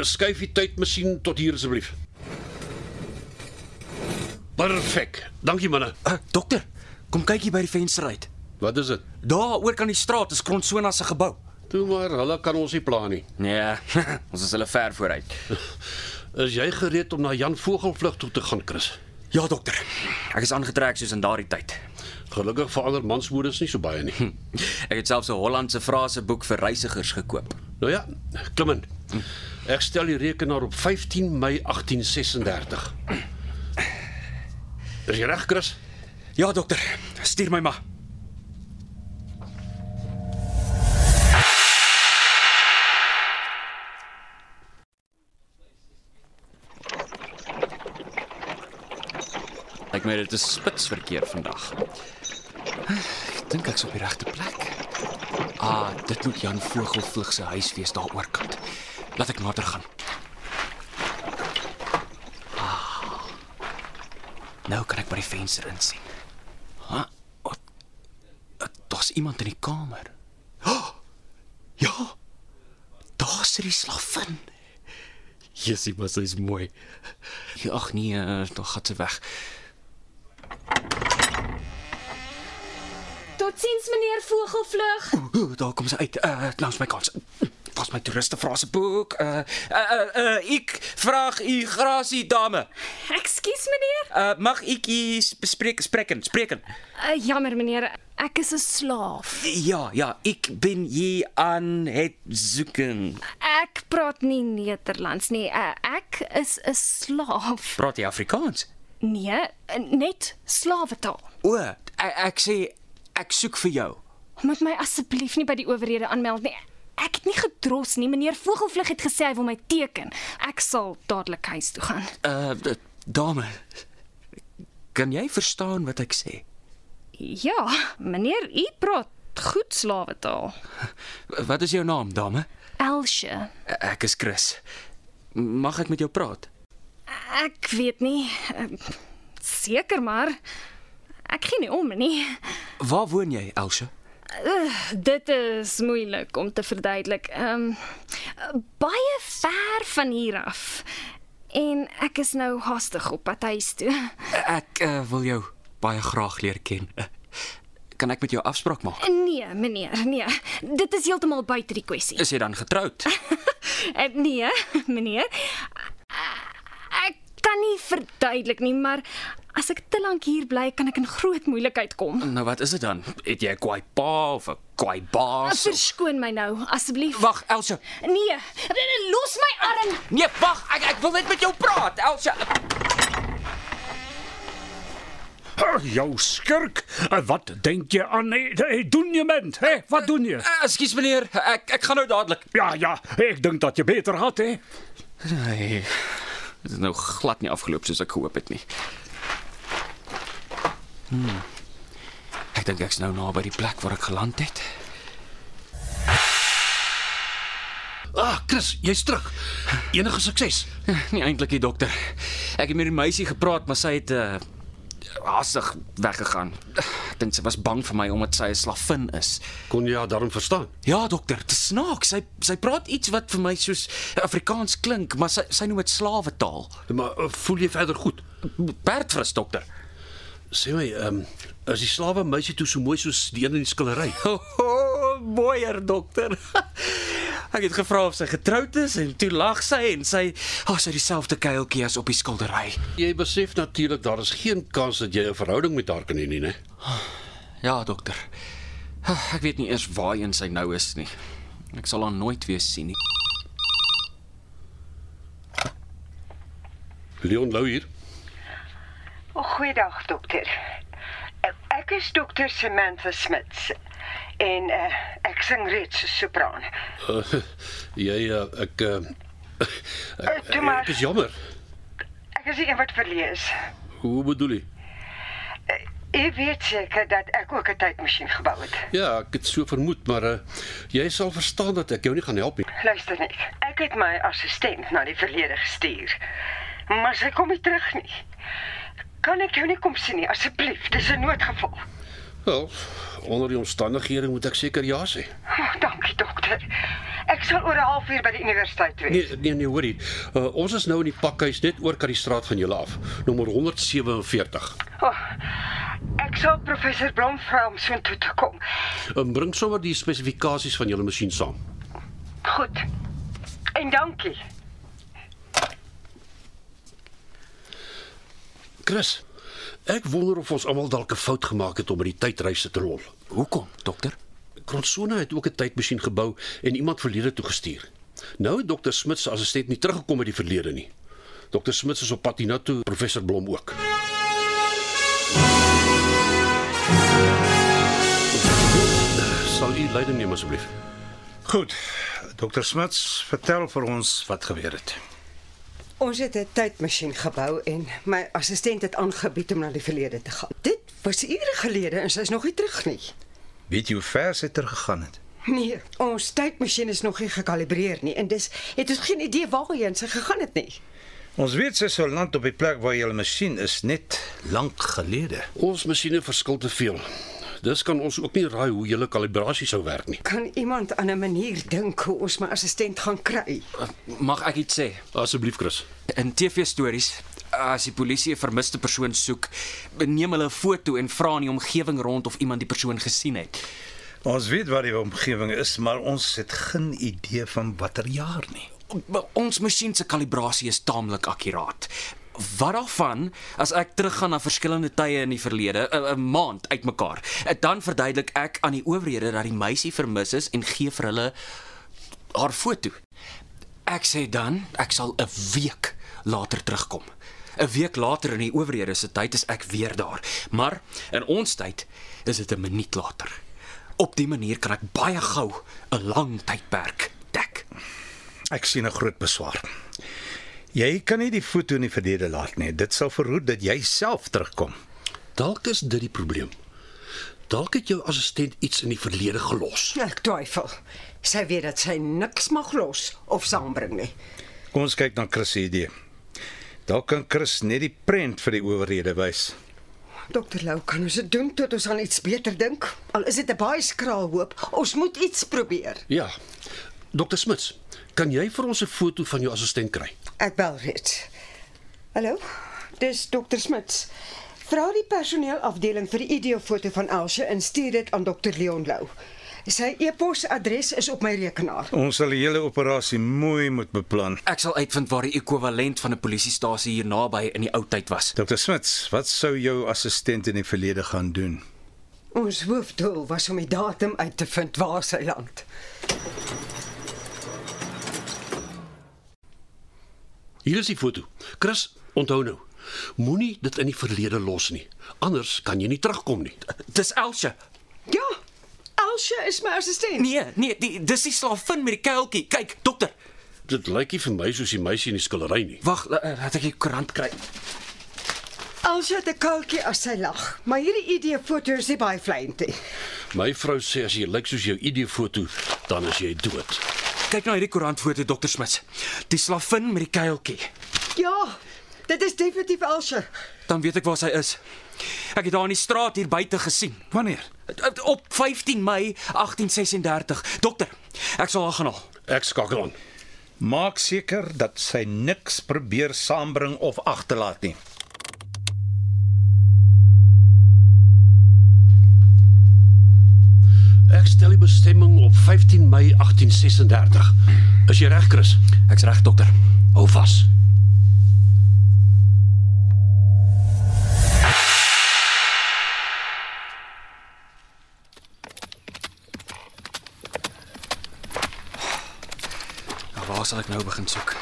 B: skuif die tydmasjien tot hier asseblief. Perfek. Dankie manne.
C: Uh, dokter, kom kyk hier by die venster uit.
B: Wat is dit?
C: Daar oor kan die straat is Kronsona se gebou.
B: Toe maar, hulle kan ons nie pla nie.
C: Nee, ons is hulle ver vooruit.
B: Is jy gereed om na Jan Vogelvlug toe te gaan, Chris?
C: Ja, dokter. Ek is aangetrek soos in daardie tyd. Hm.
B: Gelukkig verander manswoordes nie so baie nie.
C: Ek het selfs 'n Hollandse fraseboek vir reisigers gekoop. Hm.
B: Nou ja, klim in. Ek stel die rekenaar op 15 Mei 1836. Is jy reg, Chris?
C: Ja, dokter. Stuur my maar. Lyk my dit is spits verkeer vandag. Ek dink ek's op die regte plek. Ah, dit moet Jan Vogelvlug se huis wees daar oorkant. Laat ek nader gaan. Ah. Nou kan ek by die venster insien. Ha? Huh? Daar's iemand in die kamer. Oh, ja. Daar's die slavin. Jessie, maar sy is mooi. Ag nee, dan gaan sy weg.
G: Totsiens meneer Vogelvlug.
C: Ooh, daar kom sy uit. Uh, langs my kant. Was my toeriste fraseboek. Uh, uh, uh, uh, ek vraag u grasie dame.
G: Ekskuus meneer.
C: Uh, mag ek u bespreek spreken? Spreken.
G: Uh, jammer meneer, ek is 'n slaaf.
C: Ja, ja, ek ben hier aan het soeken.
G: Ek praat nie Nederlands nie. Uh, ek is 'n slaaf.
C: Praat jy Afrikaans?
G: Nee, eh, net slawetaal.
C: O, ek, ek sê ek soek vir jou.
G: Moet my asseblief nie by die owerhede aanmeld nie. Ek het nie gedros nie. Meneer Vogelvlug het gesê hy wil my teken. Ek sal dadelik huis toe gaan.
C: Uh, d- dame. Kan jy verstaan wat ek sê?
G: Ja, meneer, u praat goed slawetaal.
C: Wat is jou naam, dame? E-,
G: Elsje,
C: Ek is Chris. Mag ek met jou praat?
G: ek weet nie. eh, Seker maar. Ek gee nie om nie.
C: Waar woon jy, Elsje?
G: Uh, dit is moeilik om te verduidelik. Ehm um, baie ver van hier af. En ek is nou haastig op pad huis toe.
C: Ek uh, wil jou baie graag leer ken. Kan ek met jou afspraak maak?
G: Nee, meneer, nee. Dit is heeltemal buite die kwessie.
C: Is jy dan getroud?
G: Eh, Nee, meneer. Eh, Ek kan nie verduidelik nie, maar as ek te lank hier bly, kan ek in groot moeilikheid kom.
C: nou wat is dit dan? Het jy 'n kwaai pa of 'n kwaai baas? of-
G: Verskoon my nou, asseblief.
C: Wag, Elsje.
G: Nee, los my arm.
C: Nee, wag. Ek ek wil net met jou praat, Elsje.
H: Ha, jou skurk, Eh, wat dink jy aan? Hey, hey, Eh, doen jy mens,
C: Eh,
H: hè? Wat doen jy?
C: Ekskuus meneer, ek ek gaan nou dadelik.
H: Ja, ja, ek dink dat jy beter had, hè?
C: Nee. Dit het nou glad nie afgeloop soos ek gehoop het nie. Hmm. Ek dink ek's nou naby die plek waar ek geland het.
B: Ah, Chris, jy's terug. Enige sukses?
C: Nie eintlik nie, dokter. Ek het met die meisie gepraat, maar sy het uh haastig weggegaan. Ek dink sy was bang vir my omdat sy 'n slavin is.
B: Kon jy haar daarom verstaan?
C: Ja, dokter, dit snaaks. Sy sy praat iets wat vir my soos Afrikaans klink, maar sy sy noem dit slawetaal.
B: Maar eh, voel jy verder goed?
C: Perdfris, dokter.
B: Sê my, ehm um, is die slawe meisie toe so mooi soos die een in die skillery?
C: O, oh, mooier dokter. Ek het gevra of sy getroud is en toe lag sy en sy, "Ag, oh, sy het dieselfde kuiltjie as op die skildery."
B: Jy besef natuurlik daar is geen kans dat jy 'n verhouding met haar kan hê nie, né?
C: Ja, dokter. Ek weet nie eers waarheen sy nou is nie. Ek sal haar nooit weer sien nie.
B: Leon Lou hier.
F: O, goeiedag dokter. Ek is dokter Samantha Smits en uh, ek sing reeds 'n sopraan.
B: Uh, jy uh, ek uh, ek,
F: doe maar.
B: ek is jammer.
F: Ek is die een wat verlees.
B: Hoe bedoel jy?
F: U weet seker dat ek ook 'n tydmasjien gebou het.
B: Ja, ek het so vermoed, maar uh, jy sal verstaan dat ek jou nie gaan help nie.
F: Luister net. Ek het my assistent na die verlede gestuur. Maar sy kom nie terug nie. Kan ek jou nie kom sien nie asseblief? Dis 'n noodgeval.
B: Wel, onder die omstandighede moet ek seker ja sê.
L: Oh, dankie dokter. Ek sal oor 'n halfuur by die universiteit wees.
B: Nee, nee, nee, hoorie. Uh, ons is nou in die pakhuis net oor kan die straat van julle af, nommer 147.
L: Oh, ek sal professor Blom vra om so toe te kom.
B: Uh, bring sommer die spesifikasies van julle masjien saam.
L: Goed. En dankie.
B: Chris, ek wonder of ons almal dalk 'n fout gemaak het om met die tydreise te rol. Hoekom, dokter? Kronsona het ook 'n tydmasjien gebou en iemand verlede toe gestuur. Nou het dokter Smit se assistent nie teruggekom uit die verlede nie. Dokter Smit is op pad hiernatoe, professor Blom ook. Sal u leiding neem asseblief?
D: Goed. Dokter Smits, vertel vir ons wat gebeur het.
F: Ons het 'n tydmasjien gebou en my assistent het aangebied om na die verlede te gaan. Dit was ure gelede en sy is nog nie terug nie.
D: Weet jy hoe ver sy ter gegaan het?
F: Nee, ons tydmasjien is nog nie gekalibreer nie en dis het ons geen idee waarheen sy gegaan het nie.
D: Ons weet sy sou land op die plek waar julle masjien is net lank gelede.
B: Ons masjiene verskil te veel. Dis kan ons ook nie raai hoe julle kalibrasie sou werk nie.
F: Kan iemand aan 'n manier dink hoe ons my assistent gaan kry?
C: Mag ek iets sê?
B: Asseblief, Chris.
C: In TV-stories, as die polisie 'n vermiste persoon soek, neem hulle 'n foto en vra in die omgewing rond of iemand die persoon gesien het.
D: Ons weet waar die omgewing is, maar ons het geen idee van watter jaar nie.
C: Maar Ons masjien se kalibrasie is taamlik akkuraat. Wat daarvan as ek teruggaan na verskillende tye in die verlede, 'n 'n maand uitmekaar. Eh, Dan verduidelik ek aan die owerhede dat die meisie vermis is en gee vir hulle haar foto. Ek sê dan, ek sal 'n week later terugkom. 'n Week later in die owerhede se tyd is ek weer daar, maar in ons tyd is dit 'n minuut later. Op dié manier kan ek baie gou 'n lang tydperk dek.
D: Ek sien 'n groot beswaar. Jy kan nie die foto in die verlede laat nie. Dit sal verhoed dat jy self terugkom.
B: Dalk is dit die probleem. Dalk het jou assistent iets in die verlede gelos.
F: Ek twyfel. Sy weet dat sy niks mag los of saambring nie.
D: Kom ons kyk na Chris se idee. Dalk kan Chris net die prent vir die owerhede wys.
F: Dokter Lou, kan ons dit doen tot ons aan iets beter dink? Al is dit 'n baie skraal hoop. Ons moet iets probeer.
B: Ja. Dokter Smits, kan jy vir ons 'n foto van jou assistent kry?
F: Ek bel reeds. Hallo. Dis dokter Smits. Vra die personeelafdeling vir die ID-foto van Elsje en stuur dit aan dokter Leon Lou. Sy e-posadres is op my rekenaar.
D: Ons sal die hele operasie mooi moet beplan.
C: Ek sal uitvind waar die ekwivalent van 'n polisiestasie hier naby in die ou tyd was.
D: Dr. Smits, wat sou jou assistent in die verlede gaan doen?
F: Ons hoofdoel was om die datum uit te vind waar sy land.
B: Hier is die foto. Chris, onthou nou. Moenie dit in die verlede los nie. Anders kan jy nie terugkom nie.
C: Dis Elsje.
F: Ja. Elsje is my assistent.
C: Nee, nee, die dis die slaafin met die kuiltjie. Kyk, dokter.
B: Dit lyk nie vir my soos die meisie in die skillery nie.
C: Wag, la- eh, laat ek die koerant kry.
F: Elsje het 'n kalkie as sy lag, maar hierdie ID-foto is nie baie vleientie.
B: My vrou sê as jy lyk soos jou ID-foto, dan is jy dood.
C: Kyk na hierdie koerantfoto, dokter Smits. Die slaafin met die kuiltjie.
F: Ja, dit is definitief Elsje.
C: Dan weet ek waar sy is. Ek het haar in die straat hier buite gesien.
D: Wanneer?
C: Op 15 Mei 1836. Dokter, ek sal haar gaan haal.
B: Ek skakel aan.
D: Maak seker dat sy niks probeer saambring of agterlaat nie.
B: Ek stel die bestemming op 15 Mei 1836. Is jy reg, Chris?
C: Ek's reg, dokter.
B: Hou vas.
C: Nou, waar sal ek nou begin soek?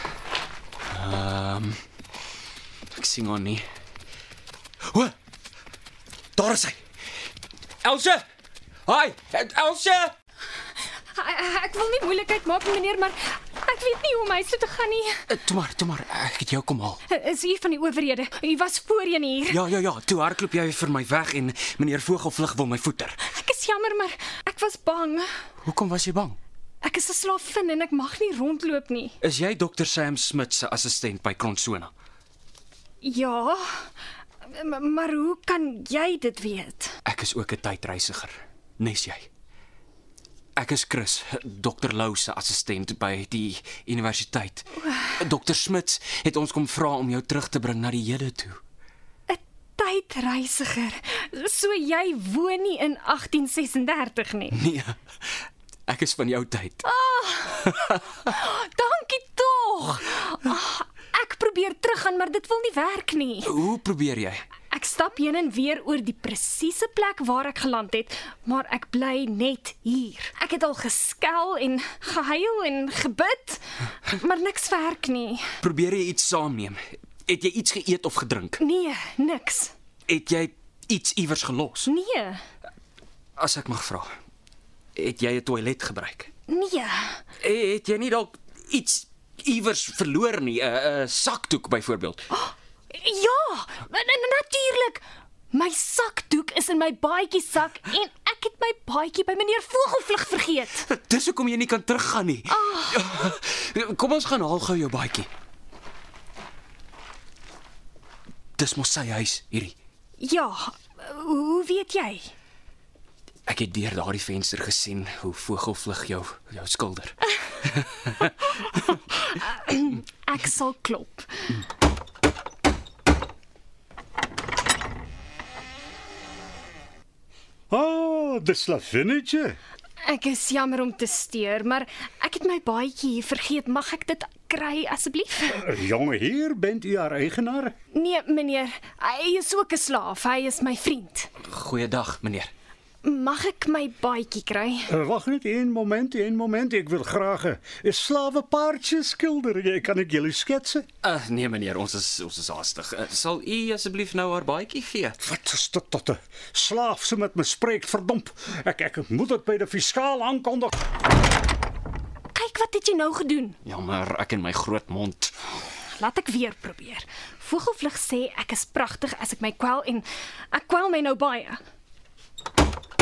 C: Ehm um, ek sien haar nie. Ho! Daar is sy. Elsje! Hi, Elsje!
G: Ek, ek wil nie moeilikheid maak nie, meneer, maar ek weet nie hoe om huis toe te gaan nie.
C: Eh, Toe maar, toe maar, ek het jou kom haal.
G: Is u van die owerhede? U was voorheen hier.
C: Ja, ja, ja, toe hardloop jy vir my weg en meneer Vogelvlug wil my voeter.
G: Ek is jammer, maar ek was bang.
C: Hoekom was jy bang?
G: Ek is 'n slaafin en ek mag nie rondloop nie.
C: Is jy dokter Sam Smit se assistent by Kronsona?
G: Ja. Maar, maar hoe kan jy dit weet?
C: Ek is ook 'n tydreisiger, nes jy. Ek is Chris, Dr Lou se assistent by die universiteit. Dr Smits het ons kom vra om jou terug te bring na die hede toe.
G: Tydreisiger. So jy woon nie in 1836 nie.
C: Nee. Ek is van jou tyd.
G: Ah. Dankie tog. Ah, ek probeer teruggaan, maar dit wil nie werk nie.
C: Hoe probeer jy?
G: Ek stap heen en weer oor die presiese plek waar ek geland het, maar ek bly net hier. Ek het al geskel en gehuil en gebid, maar niks werk nie.
C: Probeer jy iets saamneem? Het jy iets geëet of gedrink?
G: Nee, niks.
C: Het jy iets iewers gelos?
G: Nee.
C: As ek mag vra, het jy 'n toilet gebruik?
G: Nee.
C: Het jy nie dalk iets iewers verloor nie, 'n 'n sakdoek byvoorbeeld?
G: Ja, n- n- natuurlik. My sakdoek is in my baadjie sak en ek het my baadjie by meneer Vogelvlug vergeet.
C: Dis hoekom jy nie kan teruggaan nie. Ja, Kom ons gaan haal gou jou baadjie. Dis mos sy huis hierdie.
G: Ja, hoe weet jy?
C: Ek het deur daardie venster gesien hoe vogelvlug jou jou skilder.
G: Ek sal klop.
H: Ah, dis slavinnetje.
G: Ek is jammer om te steur, maar ek het my baadjie hier vergeet. Mag ek dit kry asseblief?
H: Eh, Jonge heer, bent u haar eienaar?
G: Nee, meneer. Hy is ook 'n slaaf. Hy is my vriend.
C: Goeiedag, meneer.
G: Mag ek my baadjie kry?
H: Eh, Wag net een moment, een moment. Ek wil graag 'n 'n slawepaardjie skilder. Jy kan ek julle sketse.
C: Uh, nee meneer, ons is ons is haastig. Uh, sal u asseblief nou haar baadjie gee?
H: Wat is dit tot 'n slaaf so met my spreek, verdomp. Ek ek moet dit by die fiskaal aankondig.
G: Kyk wat het jy nou gedoen?
C: Jammer, ek en my groot mond.
G: Laat ek weer probeer. Vogelvlug sê ek is pragtig as ek my kwel en ek kwel my nou baie.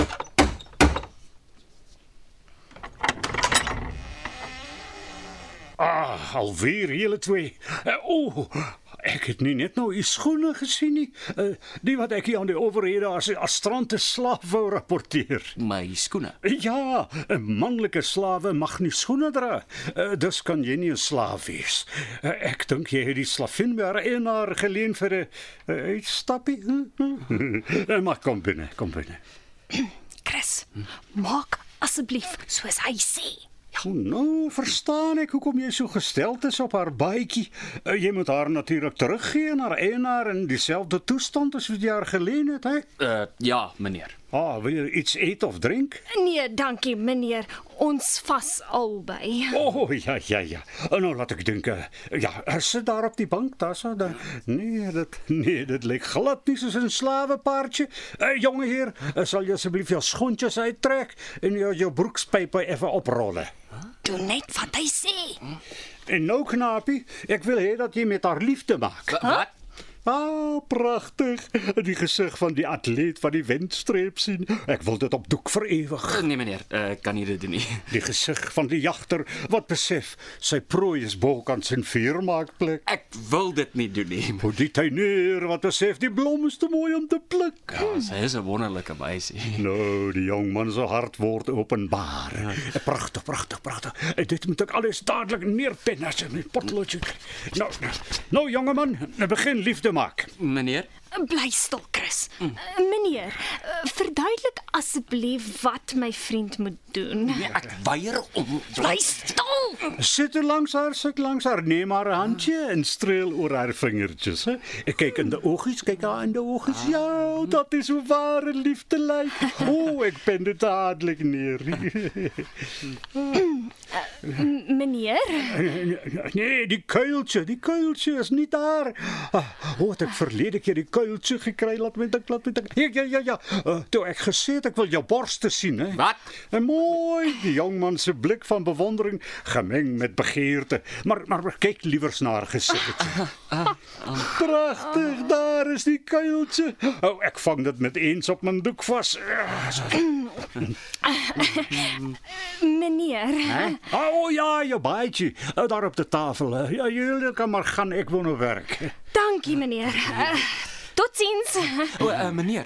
H: Ah, alweer julle twee. Uh, o, oh, ek het nie net nou u skoene gesien nie. Uh, die wat ek hier aan die owerhede as as strande slaaf wou rapporteer.
C: My skoene.
H: Ja, 'n manlike slawe mag nie skoene dra. Uh, dus kan jy nie 'n slaaf wees. Uh, ek dink jy het die slavin by haar eienaar geleen vir 'n uh, uitstappie. Uh, maar kom binne, kom binne.
G: Chris, maak asseblief soos hy sê.
H: O, Nou verstaan ek hoekom jy so gesteld is op haar baadjie. Eh, Jy moet haar natuurlik teruggee aan haar eienaar in dieselfde toestand as wat jy haar geleen het, hè?
C: Uh ja, meneer.
H: Ah, wil jy iets eet of drink?
G: Nee, dankie meneer. Ons vas albei.
H: O, oh, ja ja ja. Eh, Nou laat ek dink. eh, Ja, er sit daar op die bank daar so daar. Nee, dit nee, dit lyk glad nie soos 'n slawepaardjie. Eh jonge heer, eh, sal jy asseblief jou skoentjies uittrek en jou jou broekspype effe oprol?
G: Doen net wat hy sê.
H: En nou knapie, ek wil hê dat jy met haar liefde maak.
C: Wat?
H: Ah, pragtig. Die gesig van die atleet van die windstreep sien. Ek wil dit op doek verewig.
C: Nee meneer, uh, kan nie dit doen nie.
H: Die gesig van die jagter wat besef sy prooi is bolkans in vuurmaakplek.
C: Ek wil dit nie doen nie.
H: Hoe die tuinier wat besef die blom is te mooi om te pluk.
C: Ja, sy is 'n wonderlike meisie.
H: Nou, die jong man se hart word openbaar.
C: Ja.
H: Pragtig, pragtig, pragtig. Eh, Dit moet ek alles dadelik neerpen as 'n potloodjie. Nou, nou, nou jonge man, begin liefde maak.
C: Meneer,
G: Bly stil, Chris. Uh, meneer, uh, verduidelik asseblief wat my vriend moet doen. Nee,
C: ek weier om
G: bly stil.
H: Sit er langs haar, sit langs haar, neem haar handje en streel oor haar vingertjies. hè. Ek kyk in die oogies, kyk haar in die oogies. Ja, dat is hoe ware liefde lyk. O, oh, ek ben dit dadelik neer.
G: Hm. M- meneer,
H: Nee, die kuiltjie, die kuiltjie is nie daar. Ah, O, het ek verlede keer die kuiltjie gekry laat met ek laat met ek. Ja, ja, ja, ja. Uh, toe ek gesê het ek wil jou borste sien, hè.
C: Wat?
H: En mooi, die jong man se blik van bewondering gemeng met begeerte. Maar maar kyk liewers na haar gesiggie. Pragtig, daar is die kuiltjie. O, oh, ek vang dit met eens op my doek vas. Ah, so.
G: meneer.
H: Hè? Ah, O oh, ja, jou baadjie, eh, daar op die tafel. eh. Ja, jullie kan maar gaan, ek wil nog werk.
G: Dankie meneer. Uh,
M: Totsiens.
C: O,
H: ehm,
C: uh, meneer,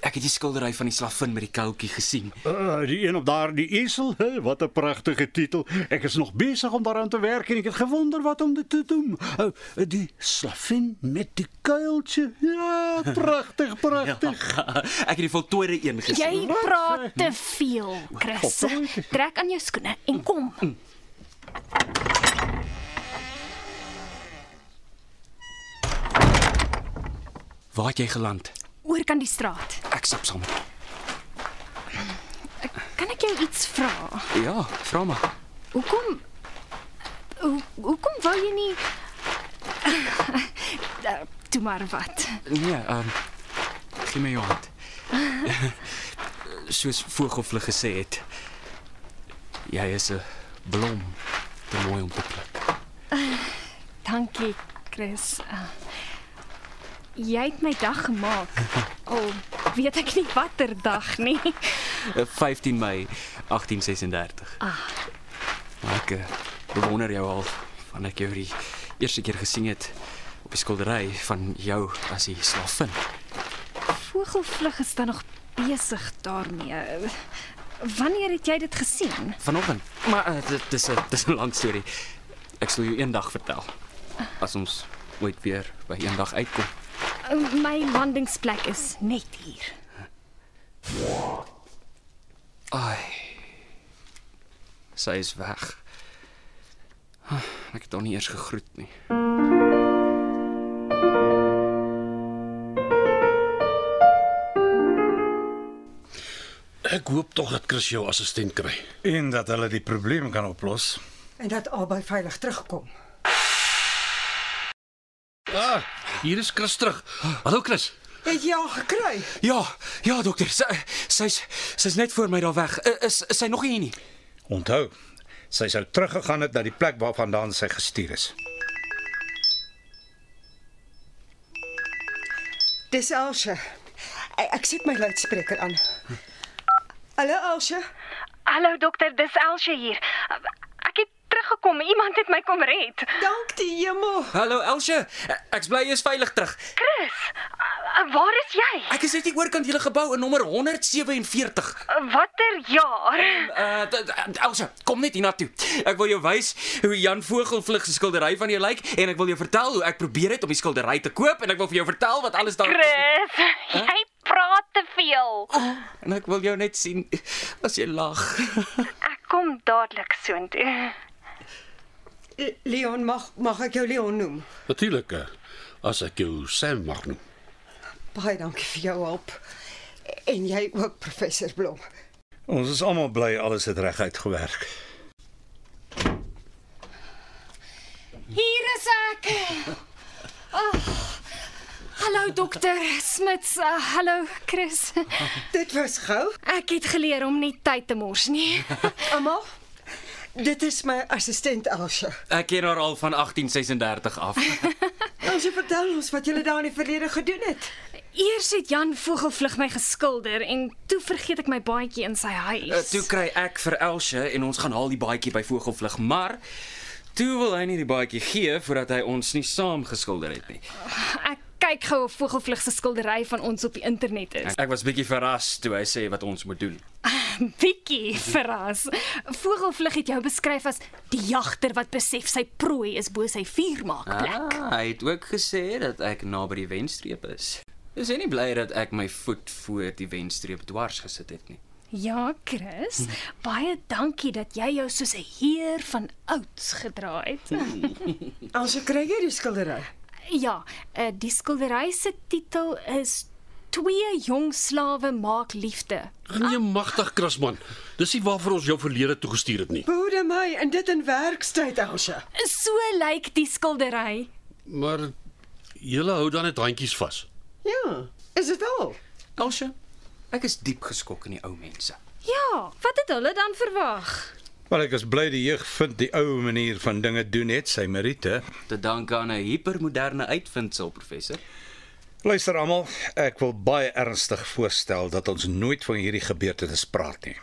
C: ek het die skildery van die slavin met die koutjie gesien.
H: Uh, die een op daardie esel, hè, wat 'n pragtige titel. Ek is nog besig om daaraan te werk en ek het gewonder wat om dit te doen. Uh, die slavin met die kuiltjie. Ja, pragtig, pragtig.
C: Ja, ek het die voltooide een gesien.
G: Jy praat te veel, Chris. Trek aan jou skoene en kom.
C: Waar het jy geland?
G: Oor kan die straat.
C: Ek stap saam. met jou.
G: Kan ek jou iets vra?
C: Ja, vra maar.
G: Hoekom hoe, hoekom wou jy nie Eh, Toe maar wat.
C: Nee, ehm um, gee my jou hand. Soos vogelvlug gesê het, jy is 'n blom te mooi om te pluk.
G: Eh, Dankie, Chris. Eh, Jy het my dag gemaak. Al weet ek nie watter dag nie.
C: Eh, 15 Mei 1836.
G: Ah,
C: Maar Ek eh, bewonder jou al van ek jou die eerste keer gesien het op die skildery van jou as die slavin.
G: vogelvlug is dan nog besig daarmee. Wanneer het jy dit gesien?
C: Vanoggend. Maar uh, dit dis 'n dis 'n lang storie. Ek sal jou eendag vertel as ons ooit weer by eendag uitkom.
G: Eh, My landingsplek is net hier.
C: Ai. Sy is weg. Ah, Ek het haar nie eers gegroet nie.
B: Ek hoop tog dat Chris jou assistent kry.
D: En dat hulle die probleem kan oplos.
F: En dat albei veilig terugkom.
B: Ah, hier is Chris terug. Hallo Chris.
F: Het jy al gekry?
C: Ja, ja dokter, sy sy's sy's net voor my daar weg. Eh, Is is sy nog nie hier nie?
D: Onthou, sy sou teruggegaan het na die plek waarvandaan sy gestuur is.
F: Dis Elsje. Ek, ek sit my luidspreker aan. Hallo Elsje.
M: Hallo Nou, dokter, dis Elsje hier. Ek het teruggekom. Iemand het my kom red.
F: Dank die hemel.
C: Hallo Elsje, ek's bly jy is veilig terug.
M: Chris, eh, waar is jy?
C: Ek is net hier oorkant julle gebou in nommer 147.
M: Watter jaar?
C: Uh d- d- Elsje, kom net hiernatoe. Ek wil jou wys hoe Jan Vogelvlug se skildery van jou lyk en ek wil jou vertel hoe ek probeer het om die skildery te koop en ek wil vir jou vertel wat alles daar
M: Chris, jy praat te veel.
F: Ah.
C: En ek wil jou net sien as jy lag.
M: Ek kom dadelik soontoe.
F: Leon mag mag ek jou Leon noem?
B: Natuurlik. eh, As ek jou Sam mag noem.
F: Baie dankie vir jou hulp. En jy ook professor Blom.
D: Ons is almal bly alles het reg uitgewerk.
M: Hier is ek.
G: Oh, hallo dokter Smits. Uh, hallo Chris.
F: Dit was gou.
G: Ek het geleer om nie tyd te mors nie.
F: Almal. Dit is my assistent Elsje.
C: Ek ken haar al van 1836 af.
F: Elsje, Nou, vertel ons wat julle daar in die verlede gedoen het.
G: Eers het Jan Vogelvlug my geskilder en toe vergeet ek my baadjie in sy huis.
C: Uh, toe kry ek vir Elsje en ons gaan haal die baadjie by Vogelvlug, maar toe wil hy nie die baadjie gee voordat hy ons nie saam geskilder het nie.
G: Ek kyk gou of Vogelvlug se skildery van ons op die internet is.
C: Ek, ek was bietjie verras toe hy sê wat ons moet doen.
G: Bietjie verras. Vogelvlug het jou beskryf as die jagter wat besef sy prooi is bo sy vuur maak.
C: Ah, hy het ook gesê dat ek naby die wenstreep is. Is hy nie bly dat ek my voet voor die wenstreep dwars gesit het nie?
G: Ja, Chris, baie dankie dat jy jou soos 'n heer van ouds gedra het.
F: Hmm. Elsje, kry jy die skildery?
G: Ja, eh, die skildery se titel is Twee jong slawe maak liefde.
B: Nee, magtig Chris man. Dis nie waarvoor ons jou verlede toe gestuur het nie.
F: Behoede my en dit in werkstyd Elsje.
G: So lyk die skildery.
B: Maar julle hou dan net handjies vas.
F: Ja, is dit al?
C: Elsje, ek is diep geskok in die ou mense.
G: Ja, wat het hulle dan verwag?
D: Maar ek is bly die jeug vind die ou manier van dinge doen het sy meriete.
C: Te danke aan 'n hipermoderne uitvindsel, professor.
D: Luister almal, ek wil baie ernstig voorstel dat ons nooit van hierdie gebeurtenis praat nie.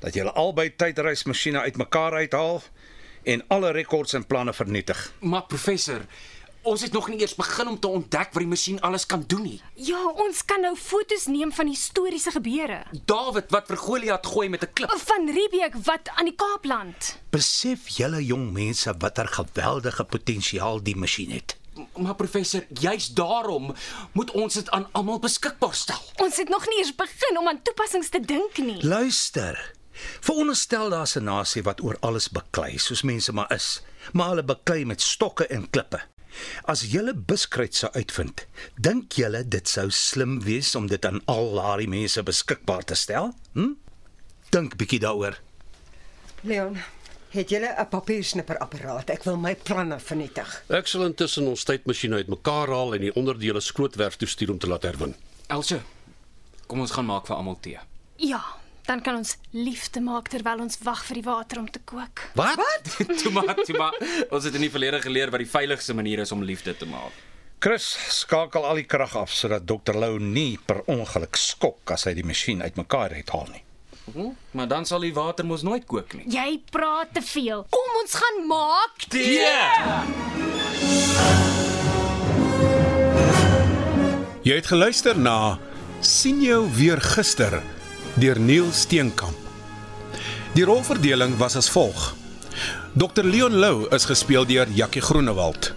D: Dat julle albei tydreismasjiene uitmekaar uithaal en alle rekords en planne vernietig.
C: Maar professor, Ons het nog nie eers begin om te ontdek wat die masjien alles kan doen nie.
G: Ja, ons kan nou fotos neem van historiese gebeure.
C: Dawid wat vir Goliat gooi met 'n klip.
G: Of van Riebeeck wat aan die Kaapland.
N: Besef julle jong mense watter geweldige potensiaal die masjien het.
C: Maar professor, juis daarom moet ons dit aan almal beskikbaar stel.
G: Ons het nog nie eers begin om aan toepassings te dink nie.
N: Luister. Veronderstel daar's 'n nasie wat oor alles beklei, soos mense maar is, maar hulle beklei met stokke en klippe. As julle buskruit sou uitvind, dink julle dit sou slim wees om dit aan al daardie mense beskikbaar te stel? Hm? Dink bietjie daaroor.
O: Leon, het jy 'n papiersnipper apparaat? Ek wil my planne vernietig.
B: Ek sal intussen ons tydmasjien uitmekaar haal en die onderdele skrootwerf toe stuur om te laat herwin.
C: Elsje, kom ons gaan maak vir almal tee.
G: Ja, dan kan ons liefde maak terwyl ons wag vir die water om te kook.
C: Wat? Wat? toe maar, toe maar. Ons het in die verlede geleer wat die veiligigste manier is om liefde te maak.
D: Chris skakel al die krag af sodat Dr Lou nie per ongeluk skok as hy die masjien uitmekaar het haal nie.
C: Hm? Maar dan sal die water mos nooit kook nie.
G: Jy praat te veel. Kom ons gaan maak
A: Jy het geluister na sien jou weer gister deur Neil Steenkamp. Die rolverdeling was as volg: Dr Leon Lou is gespeel deur Jackie Groenewald.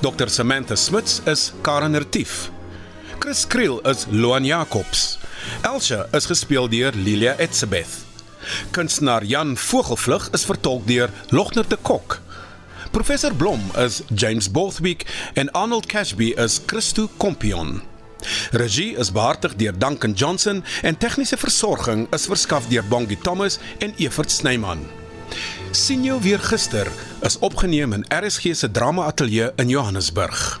A: Dr Samantha Smits is Karen Retief. Chris Kriel is Loan Jacobs. Elsje is gespeel deur Lilia Etzebeth. Kunstenaar Jan Vogelvlug is vertolk deur Logner de Kok. Professor Blom is James Bothwick en Arnold Cashby is Christo Kompion. Regie is behartig deur Duncan Johnson en tegniese versorging is verskaf deur Bongie Thomas en Evert Snyman. Sien jou weer gister is opgeneem in RSG se drama ateljee in Johannesburg.